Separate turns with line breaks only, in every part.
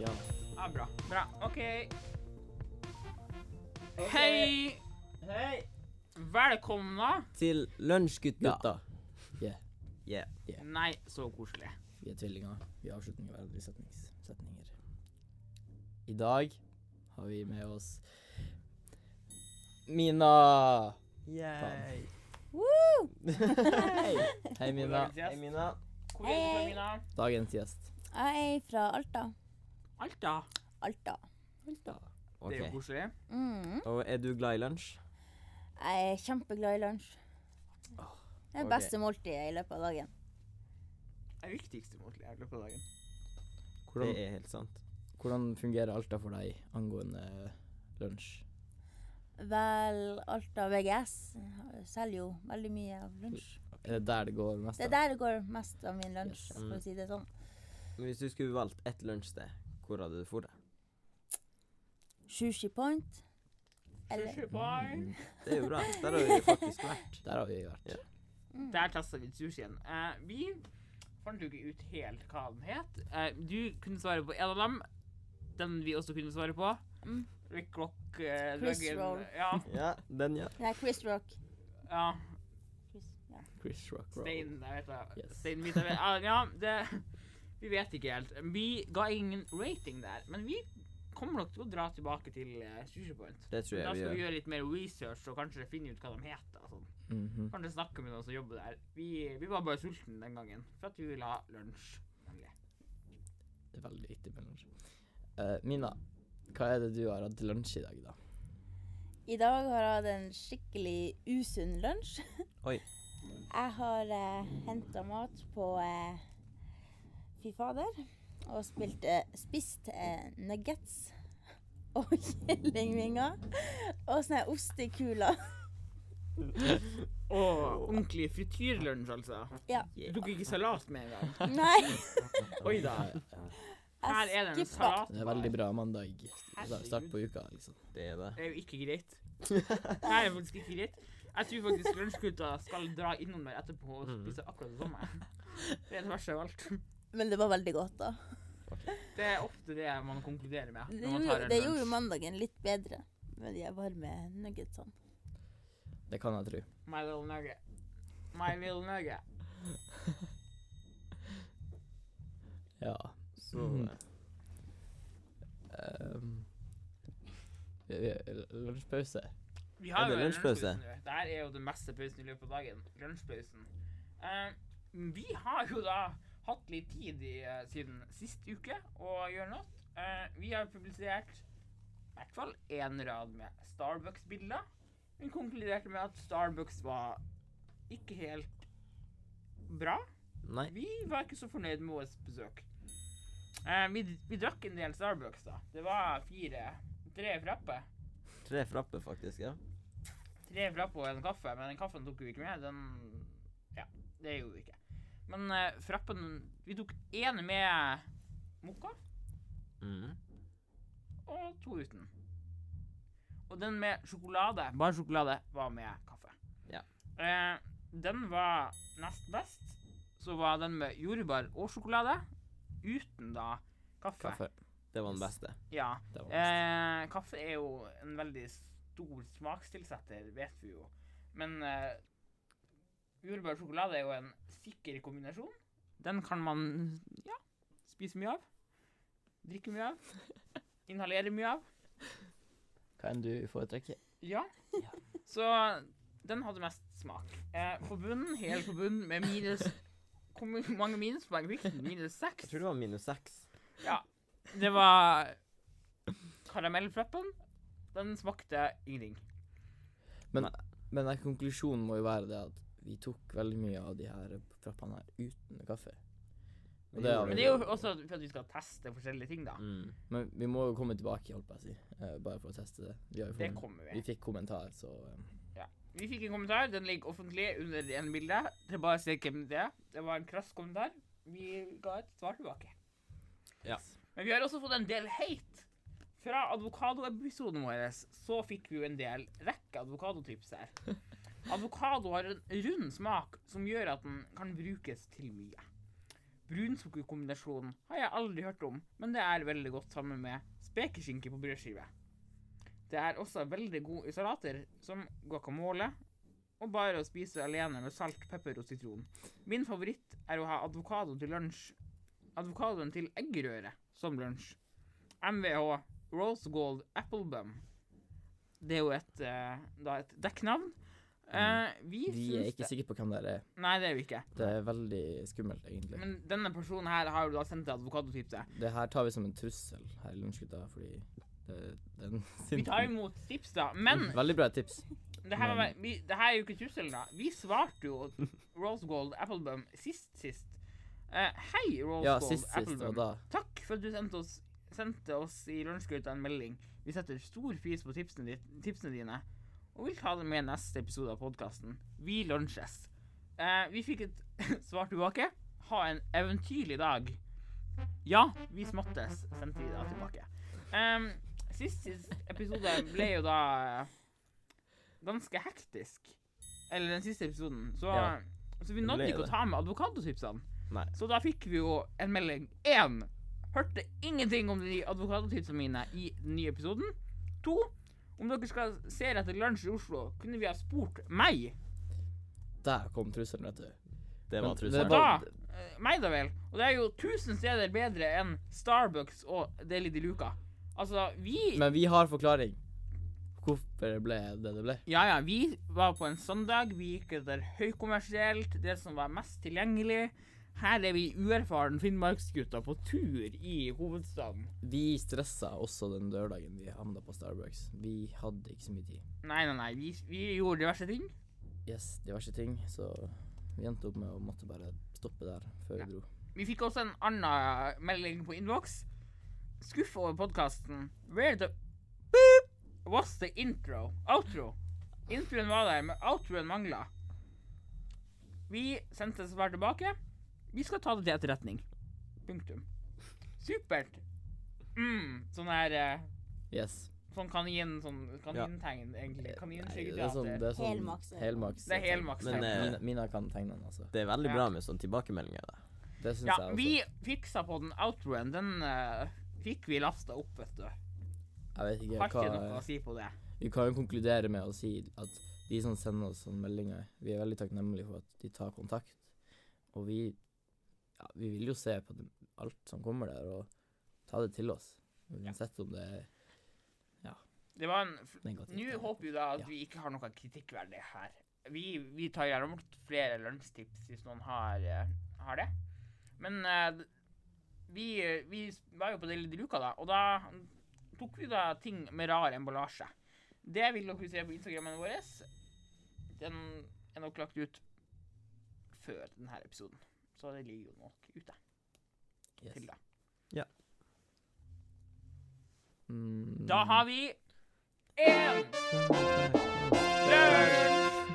Ja, bra. Bra. OK.
Ok.
Hei!
Hei!
Velkomna.
Til Lunsjguttgutta.
Nei, så koselig.
Vi er tvillinger. Vi har avslutning av hverandres setnings- setninger. I dag har vi med oss Mina.
Yay.
Hei. Hei, Mina.
Hei, Mina.
Hvor er du fra,
Hei.
Mina?
Dagens gjest.
Jeg er fra Alta.
Alta.
Alta.
Det er jo
Ok.
koselig.
Mm.
Og er du glad i lunsj?
Jeg er kjempeglad i lunsj. Det er det
ok.
beste måltidet i løpet av dagen.
Det er viktigste målet i løpet av dagen.
Det
Hvordan,
er helt sant.
hvordan fungerer Alta for deg angående lunsj?
Vel, Alta VGS selger jo veldig mye av lunsj.
Er det der det går mest?
Det er
da?
der det går mest av min lunsj,
Yes.
for å si det sånn.
Men hvis du skulle valgt ett lunsjsted, hvor hadde du dratt?
Sushi Point. Eller
Sushi bar.
Mm,
Det er jo bra. Der har vi faktisk vært.
Der har vi vært.
Ja.
mm.
Der testa vi sushien. Eh, vi fant jo ikke ut helt hva den het. Eh, du kunne svare på en av dem. Den vi også kunne svare på.
Mm.
Rick Rock eh,
Chris
Løggen.
Roll.
Ja,
Ja, den, ja.
Nei, Chris Rock.
ja.
Chris, ja.
Chris Rock Roll.
Stein jeg vet det.
Yes.
Stein mitt, jeg vet. ah, Ja, det Vi vet ikke helt. Vi ga ingen rating der, men vi kommer nok til å dra tilbake til eh, Sushi Point.
Det tror
Da
jeg vi
skal vi
gjør.
gjøre litt mer research og kanskje finne ut hva de heter. og Sånn.
Mhm.
Kanskje snakke med noen som jobber der. Vi, vi var bare sultne den gangen for at vi ville ha lunsj. nemlig.
Det er veldig viktig med lunsj. Eh, Mina, hva er det du har hatt til lunsj i dag, da?
I dag har jeg hatt en skikkelig usunn lunsj.
Oi.
Jeg har eh, henta mat på eh, Fy fader og spilt, eh, spist eh, nuggets og kyllingvinger og sånne ostekuler.
Og ordentlig frityrlunsj, altså.
Ja.
Du tok ikke salat med en gang.
Nei,
Oi da. Her er det
jeg
en
skippa.
salat.
Det er veldig bra mandag. Da- Start på uka, liksom.
Det er det.
Det er jo ikke greit. Det er faktisk ikke greit. Jeg tror faktisk lunsjgutta skal dra innom der etterpå og
Mhm.
spise akkurat det samme. Det er det verste av alt.
Men det var veldig godt, da.
Det er ofte det man konkluderer med.
Det
når man
gjorde,
tar en
det gjorde
lunsj.
jo mandagen litt bedre med de varme nuggetsene.
Det kan jeg tro.
My little nugget. My little nugget.
Ja.
Så
Mhm.
eh,
Um, vi- vi- lunsjpause.
Vi har
Er
jo
det
en
lunsjpause?
lunsjpause nå. Det her er jo den beste pausen i løpet av dagen. Lunsjpausen. Eh, vi har jo da hatt litt tid i, eh, siden sist uke å gjøre noe. Eh, vi har publisert i hvert fall én rad med Starbucks-bilder. Vi konkluderte med at Starbucks var ikke helt bra.
Nei.
Vi var ikke så fornøyd med vårt besøk. Eh, vi, vi drakk en del Starbucks, da. Det var fire Tre frappe.
Tre frappe, faktisk. ja.
Tre frappe og en kaffe, men den kaffen tok vi ikke med. Den Ja, det gjorde vi ikke. Men eh, frappen Vi tok én med mokka
Mhm.
og to uten. Og den med sjokolade, bare sjokolade, var med kaffe.
Ja.
Eh, den var nest best. Så var den med jordbær og sjokolade uten da kaffe.
Kaffe.
Det var den beste.
Ja.
Det var best.
Eh, kaffe er jo en veldig stor smakstilsetter, vet vi jo. Men eh, jordbær og sjokolade er jo en sikker kombinasjon. Den kan man ja, spise mye av. Drikke mye av. Inhalere mye av.
Hva enn du foretrekker.
Ja. Så den hadde mest smak. Eh, forbund, hel forbund med minus Hvor my- mange minuspoeng fikk den? Minus
Jeg
seks?
tror det var minus seks.
Det var karamellflappen. Den smakte ingenting.
Men den konklusjonen må jo være det at vi tok veldig mye av de her frappene her uten kaffe. Og det har
Men
vi
det er jo også for at vi skal teste forskjellige ting, da.
Mm.
Men vi må jo komme tilbake, holdt på å si. eh, bare for å teste det. Vi, har jo
Det
fått-
kommer
vi
vi.
fikk kommentar, så um,
Vi fikk en kommentar. Den ligger offentlig under det ene bildet. Det er bare å se hvem det er. Det var en krass kommentar. Vi ga et svar tilbake.
Ja.
Men vi har også fått en del hate. Fra Advokado-episoden vår så fikk vi jo en del rekke advokadotips her. Advokado har en rund smak som gjør at den kan brukes til mye. Brunsukkerkombinasjonen har jeg aldri hørt om, men det er veldig godt sammen med spekeskinke på brødskive. Det er også veldig god i salater, som guacamole, og bare å spise alene med salt, pepper og sitron. Min favoritt er å ha avokado til lunsj. Avokadoen til eggerøre som lunsj. MVH Rose Gold Apple Bum. Det er jo et, eh, da et dekknavn. Eh, vi
Mm. Vi er
syns
ikke
det
sikre på hvem det er.
Nei, det er vi ikke.
Det er veldig skummelt, egentlig.
Men denne personen her har jo da sendt deg advokatotipset.
Det her tar vi som en trussel her i Lunsjgutta, fordi det, den
Vi tar imot tips, da. Men
Veldig bra tips.
det her, var, vi, det her er jo ikke trusselen, da. Vi svarte jo Rosegold Applebum sist sist. Eh, hei, Rosegold
Ja, sist sist, og
Applebum.
da
Takk for at du sendte oss, sendte oss i Lunsjgauta en melding. Vi setter stor pris på tipsene, ditt, tipsene dine, og vil ta det med i neste episode av podkasten. Vi lunsjes. Eh, vi fikk et svar tilbake. Ha en eventyrlig dag. Ja, vi smattes, sendte vi da tilbake. Um, sist, sist episode ble jo da eh, ganske hektisk. Eller den siste episoden. Så,
Ja.
så vi
Det
nådde
ble
ikke å
det.
ta med advokatotipsene.
Nei.
Så da fikk vi jo en melding. Én hørte ingenting om de advokatotipsene mine i den nye episoden. To om dere skal se etter lunsj i Oslo, kunne vi ha spurt meg.
Der kom trusselen, vet du.
Det
Men
var
det
trusselen.
var-
Da eh, Meg, da vel. Og det er jo tusen steder bedre enn Starbucks og Deli de Luca. Altså, vi
Men vi har forklaring. Hvorfor det ble det det ble?
Ja, ja, vi var på en søndag. Vi gikk etter høykommersielt, det som var mest tilgjengelig. Her er vi uerfaren finnmarksgutter på tur i hovedstaden.
Vi stressa også den lørdagen vi havna på Starbucks. Vi hadde ikke så mye tid.
Nei, nei, nei. Vi, vi gjorde diverse ting.
Yes, diverse ting, så vi endte opp med å måtte bare stoppe der før
Ja.
vi dro.
Vi fikk også en annen eh, melding på innboks. Skuff over podkasten. Where the boop was the intro? Outro. Introen var der, men outroen mangla. Vi sendte svar tilbake. Vi skal ta det til etterretning. Punktum. Supert. Mm, sånn her eh,
Yes.
Sånn kanin, sånn kanintegn,
Nei, det
egentlig.
er sånn,
Kaninskyggeteater.
det er sånn
Helmaks.
helmaks.
Det er helmaks.
Men, eh,
Mina, Mina kan tegnene, altså.
Det er veldig
Ja.
bra med sånne tilbakemeldinger. Da.
Det syns
Ja,
jeg også.
vi fiksa på den outroen. Den eh, fikk vi lasta opp, vet du.
Jeg vet ikke
Har ikke
hva
noe å si på det.
Vi kan jo konkludere med å si at de som sender oss sånne meldinger, vi er veldig takknemlige for at de tar kontakt. Og vi, ja, vi vil jo se på det- alt som kommer der, og ta det til oss. Uansett om det er
Det var en f-
negativt.
Nå
eller-
håper vi da at
Ja.
vi ikke har noe kritikkverdig her. Vi, vi tar gjerne imot flere lunsjtips hvis noen har, eh, har det. Men eh, d- vi, eh, vi s- var jo på Deli de Luca, da, og da tok vi da ting med rar emballasje. Det vil dere se på Instagrammen vår. Den er nok lagt ut før denne episoden, så det ligger jo nok ute
Yes.
til da.
Mm,
Da har vi én lunsj!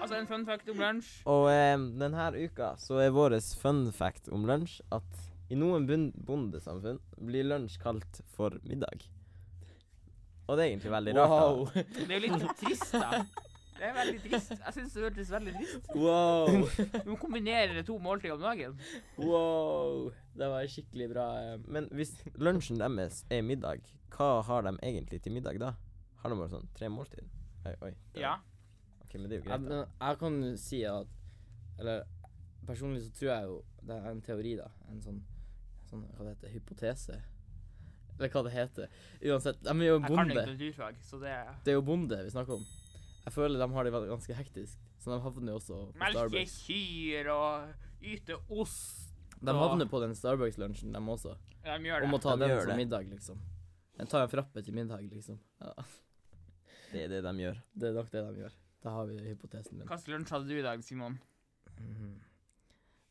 Altså en fun fact om lunsj.
Og eh, denne uka så er vår fun fact om lunsj at i noen bun- bondesamfunn blir lunsj kalt for middag. Og det er egentlig veldig rart. da.
Wow!
Det er jo litt så trist, da. Det er veldig trist. Jeg syns det hørtes veldig trist
Wow.
Du må kombinere to måltider om dagen.
wow! Det var skikkelig bra. eh,
Men hvis lunsjen deres er middag, hva har de egentlig til middag da? Har de bare sånn tre måltid? Oi, oi. det var-
Ja.
Ok, men det er jo
Jeg,
greit, da.
men jeg kan jo si at Eller personlig så tror jeg jo Det er en teori, da. En sånn, sånn Hva det heter Hypotese? Eller hva det heter. Uansett, de er jo
Jeg kan
bonde.
ikke naturfag, så det
Det er jo bonde vi snakker om. Jeg føler de har det vel ganske hektisk. Så de havner jo også på
Melke
Starbucks.
kyr og yte ost.
De havner på den Starbucks-lunsjen, de også.
De gjør
Og må
det.
ta
De
den
gjør
som
det.
middag, liksom. De tar en frappe til middag, liksom. Ja,
Det er det de gjør.
det er nok det de gjør. Da har vi hypotesen min.
Hva slags lunsj hadde du i dag, Simon?
Mhm.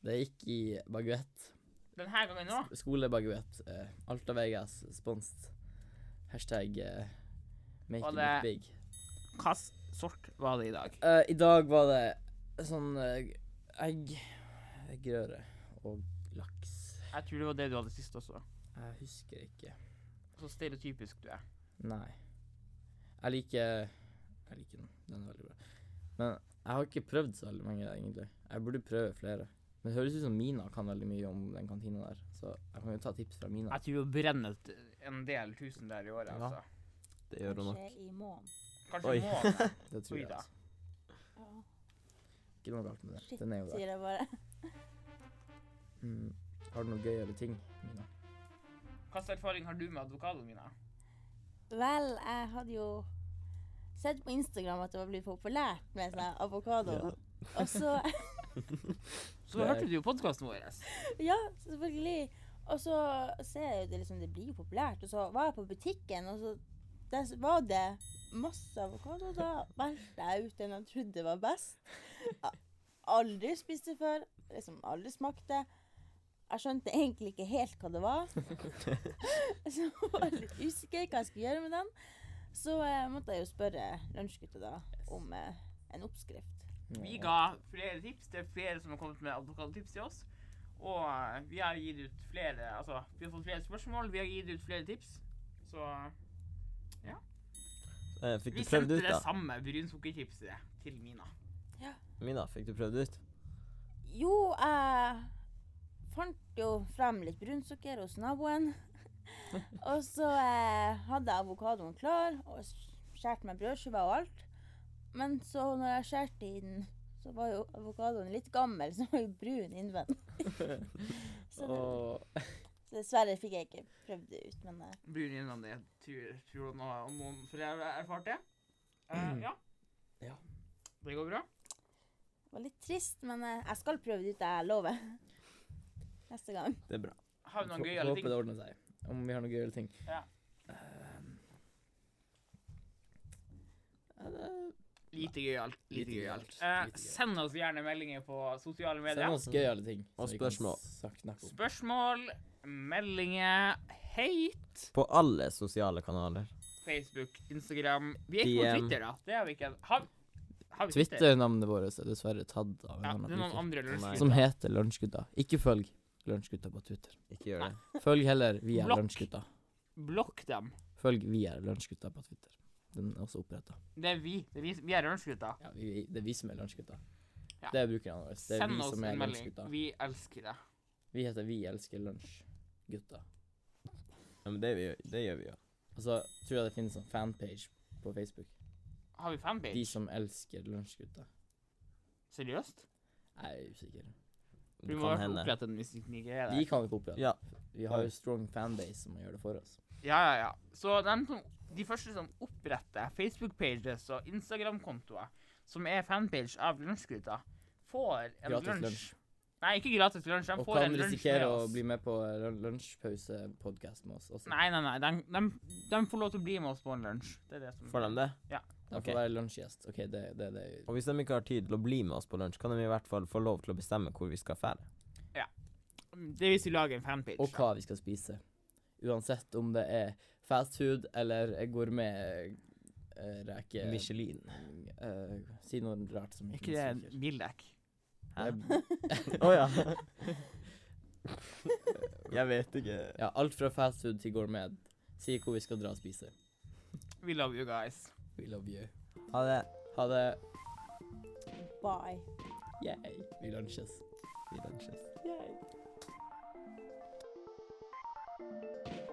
Det gikk i baguett.
Denne gangen nå?
Skolebaguett. Eh, Alta Vegas sponst. Hashtag eh, make
Var
it
det-
look big.
Hva s- sort var det i dag?
Eh, I dag var det sånn eh, egg, eggerøre og laks.
Jeg tror det var det du hadde sist også.
Jeg husker ikke.
Så stereotypisk du er.
Nei. Jeg liker Jeg liker den. Den er veldig bra. Men jeg har ikke prøvd så veldig mange, egentlig. Jeg burde prøve flere. Men det høres ut som Mina kan veldig mye om den kantina der, så jeg kan jo ta tips fra Mina.
Jeg tror hun brenner et- en del tusen der i året,
Ja.
altså.
Det gjør hun nok.
Kanskje i morgen.
Kanskje
Oi.
måned.
Det tror jeg.
Oi da.
Altså. Ikke noe galt med det. Den er jo der.
Sier jeg bare.
Mm. Har du noe gøyere ting, Mina?
Hva slags erfaring har du med advokatene mine?
Vel, jeg hadde jo sett på Instagram at det var blitt populært med sånn avokado.
Ja.
Og så
Så
Det er-
hørte du jo podkasten vår.
Ja, selvfølgelig. Og så ser jeg jo det liksom, det blir jo populært. Og så var jeg på butikken, og så der s- var det masse avokado. Da valgte jeg ut den jeg trodde var best. A- Aldri spist det før. Liksom aldri smakt det. Jeg skjønte egentlig ikke helt hva det var. Så jeg var litt usikker hva jeg skulle gjøre med den. Så eh, måtte jeg jo spørre lunsjgutta da om eh, en oppskrift.
Vi ga flere tips. Det er flere som har kommet med advokattips til oss. Og eh, vi har gitt ut flere Altså, vi har fått flere spørsmål, vi har gitt ut flere tips. Så
Eh, fikk
vi
du prøvd
sendte
ut,
det
da?
samme brunsukkertipset til Mina.
Mina, fikk du prøvd ut?
Jo, jeg fant jo frem litt brunsukker hos naboen. og så eh, hadde jeg avokadoen klar og skjærte meg brødskiva og alt. Men så når jeg skjærte i den, så var jo avokadoen litt gammel, så var jo brun innvendig. så
Åh,
dessverre fikk jeg ikke prøvd det ut, men eh,
Brun innvendig. Tror, tror du noe om noen flere har erfart det?
Mm.
Eh, ja.
Ja.
Det går bra?
det var litt trist. Men eh, jeg skal prøve det ut, jeg lover. Neste gang.
Det er bra.
Har
får-
vi noen
får
gøyale
håpe
ting?
det ordner seg. Om vi har noen gøyere ting.
Ja.
Ehm. Ja, det-
Lite gøyalt. Lite
Lite
gøyalt.
gøyalt,
Eh,
lite gøyalt.
send oss gjerne meldinger på sosiale medier.
Send oss gøyale ting.
Og
som vi kan
spørsmål.
sak- snakke om.
Spørsmål, meldinger, hate
På alle sosiale kanaler.
Facebook, Instagram Vi er ikke på
DM.
Twitter, da. Det har vi ikke. Har, har vi
Twitter-navnet vårt er dessverre tatt av en
Ja, det er noen
annen
andre
Nei.
løsninger.
som heter Lunsjgutta. Ikke følg Lunsjgutta på Twitter.
Ikke gjør det.
Følg heller Vi er
Blokk.
Lunsjgutta.
Blokk dem.
Følg Vi er Lunsjgutta på Twitter. Den er også oppretta.
Det er vi. Det er vi, vi er lunsjgutta.
Ja, vi, det er vi som er Lunsjgutta.
Ja.
Det er brukerne våre. Det er
Send
vi
oss
som er
en melding.
Lunsjgutta.
Vi elsker det.
Vi heter Vi elsker lunsjgutta.
Ja, men det, vi, gjør- det gjør vi jo.
Og så Altså, tror jeg det finnes en fanpage på Facebook.
Har vi
De
fanpage?
som elsker lunsjgutta.
Seriøst?
Jeg er usikker.
Vi
Det
må i
kan
hvert fall
hende.
opprette en mystikknikke.
Vi kan ikke opprette.
Ja.
Vi har jo strong fanbase som gjør det for oss.
Ja, ja, ja. Så dem som, de første som oppretter Facebook-pages og Instagram-kontoer, som er fanpage av Lunsjgryta, får en
Gratis
lunsj.
lunsj.
Nei, ikke gratis lunsj. De
Og
får
kan
en lunsj med
risikere å
oss.
bli med på eh, lun- lunsjpause-podkast med oss også.
Nei, nei, nei. De, de, de får lov til å bli med oss på en lunsj. Det er det som
Får de det?
De
ok.
får være lunsjgjest. OK, det, det, det.
Og hvis de ikke har tid til å bli med oss på lunsj, kan de i hvert fall få lov til å bestemme hvor vi skal fære.
Det er hvis vi lager en fanpage.
Og hva vi skal spise. Uansett om det er fast food eller gourmet-reke
Michelin.
eh, Si noe rart som
Er
ikke
ikke det
er
en bildekk?
Hæ?
sikkert.
Å ja. Jeg vet ikke.
Ja, alt fra fast food til gourmet. Si hvor vi skal dra og spise.
We love you guys.
We love you.
Ha det.
Ha det.
Bye.
Yay. Vi lunsjes.
Vi lunsjes.
Yay.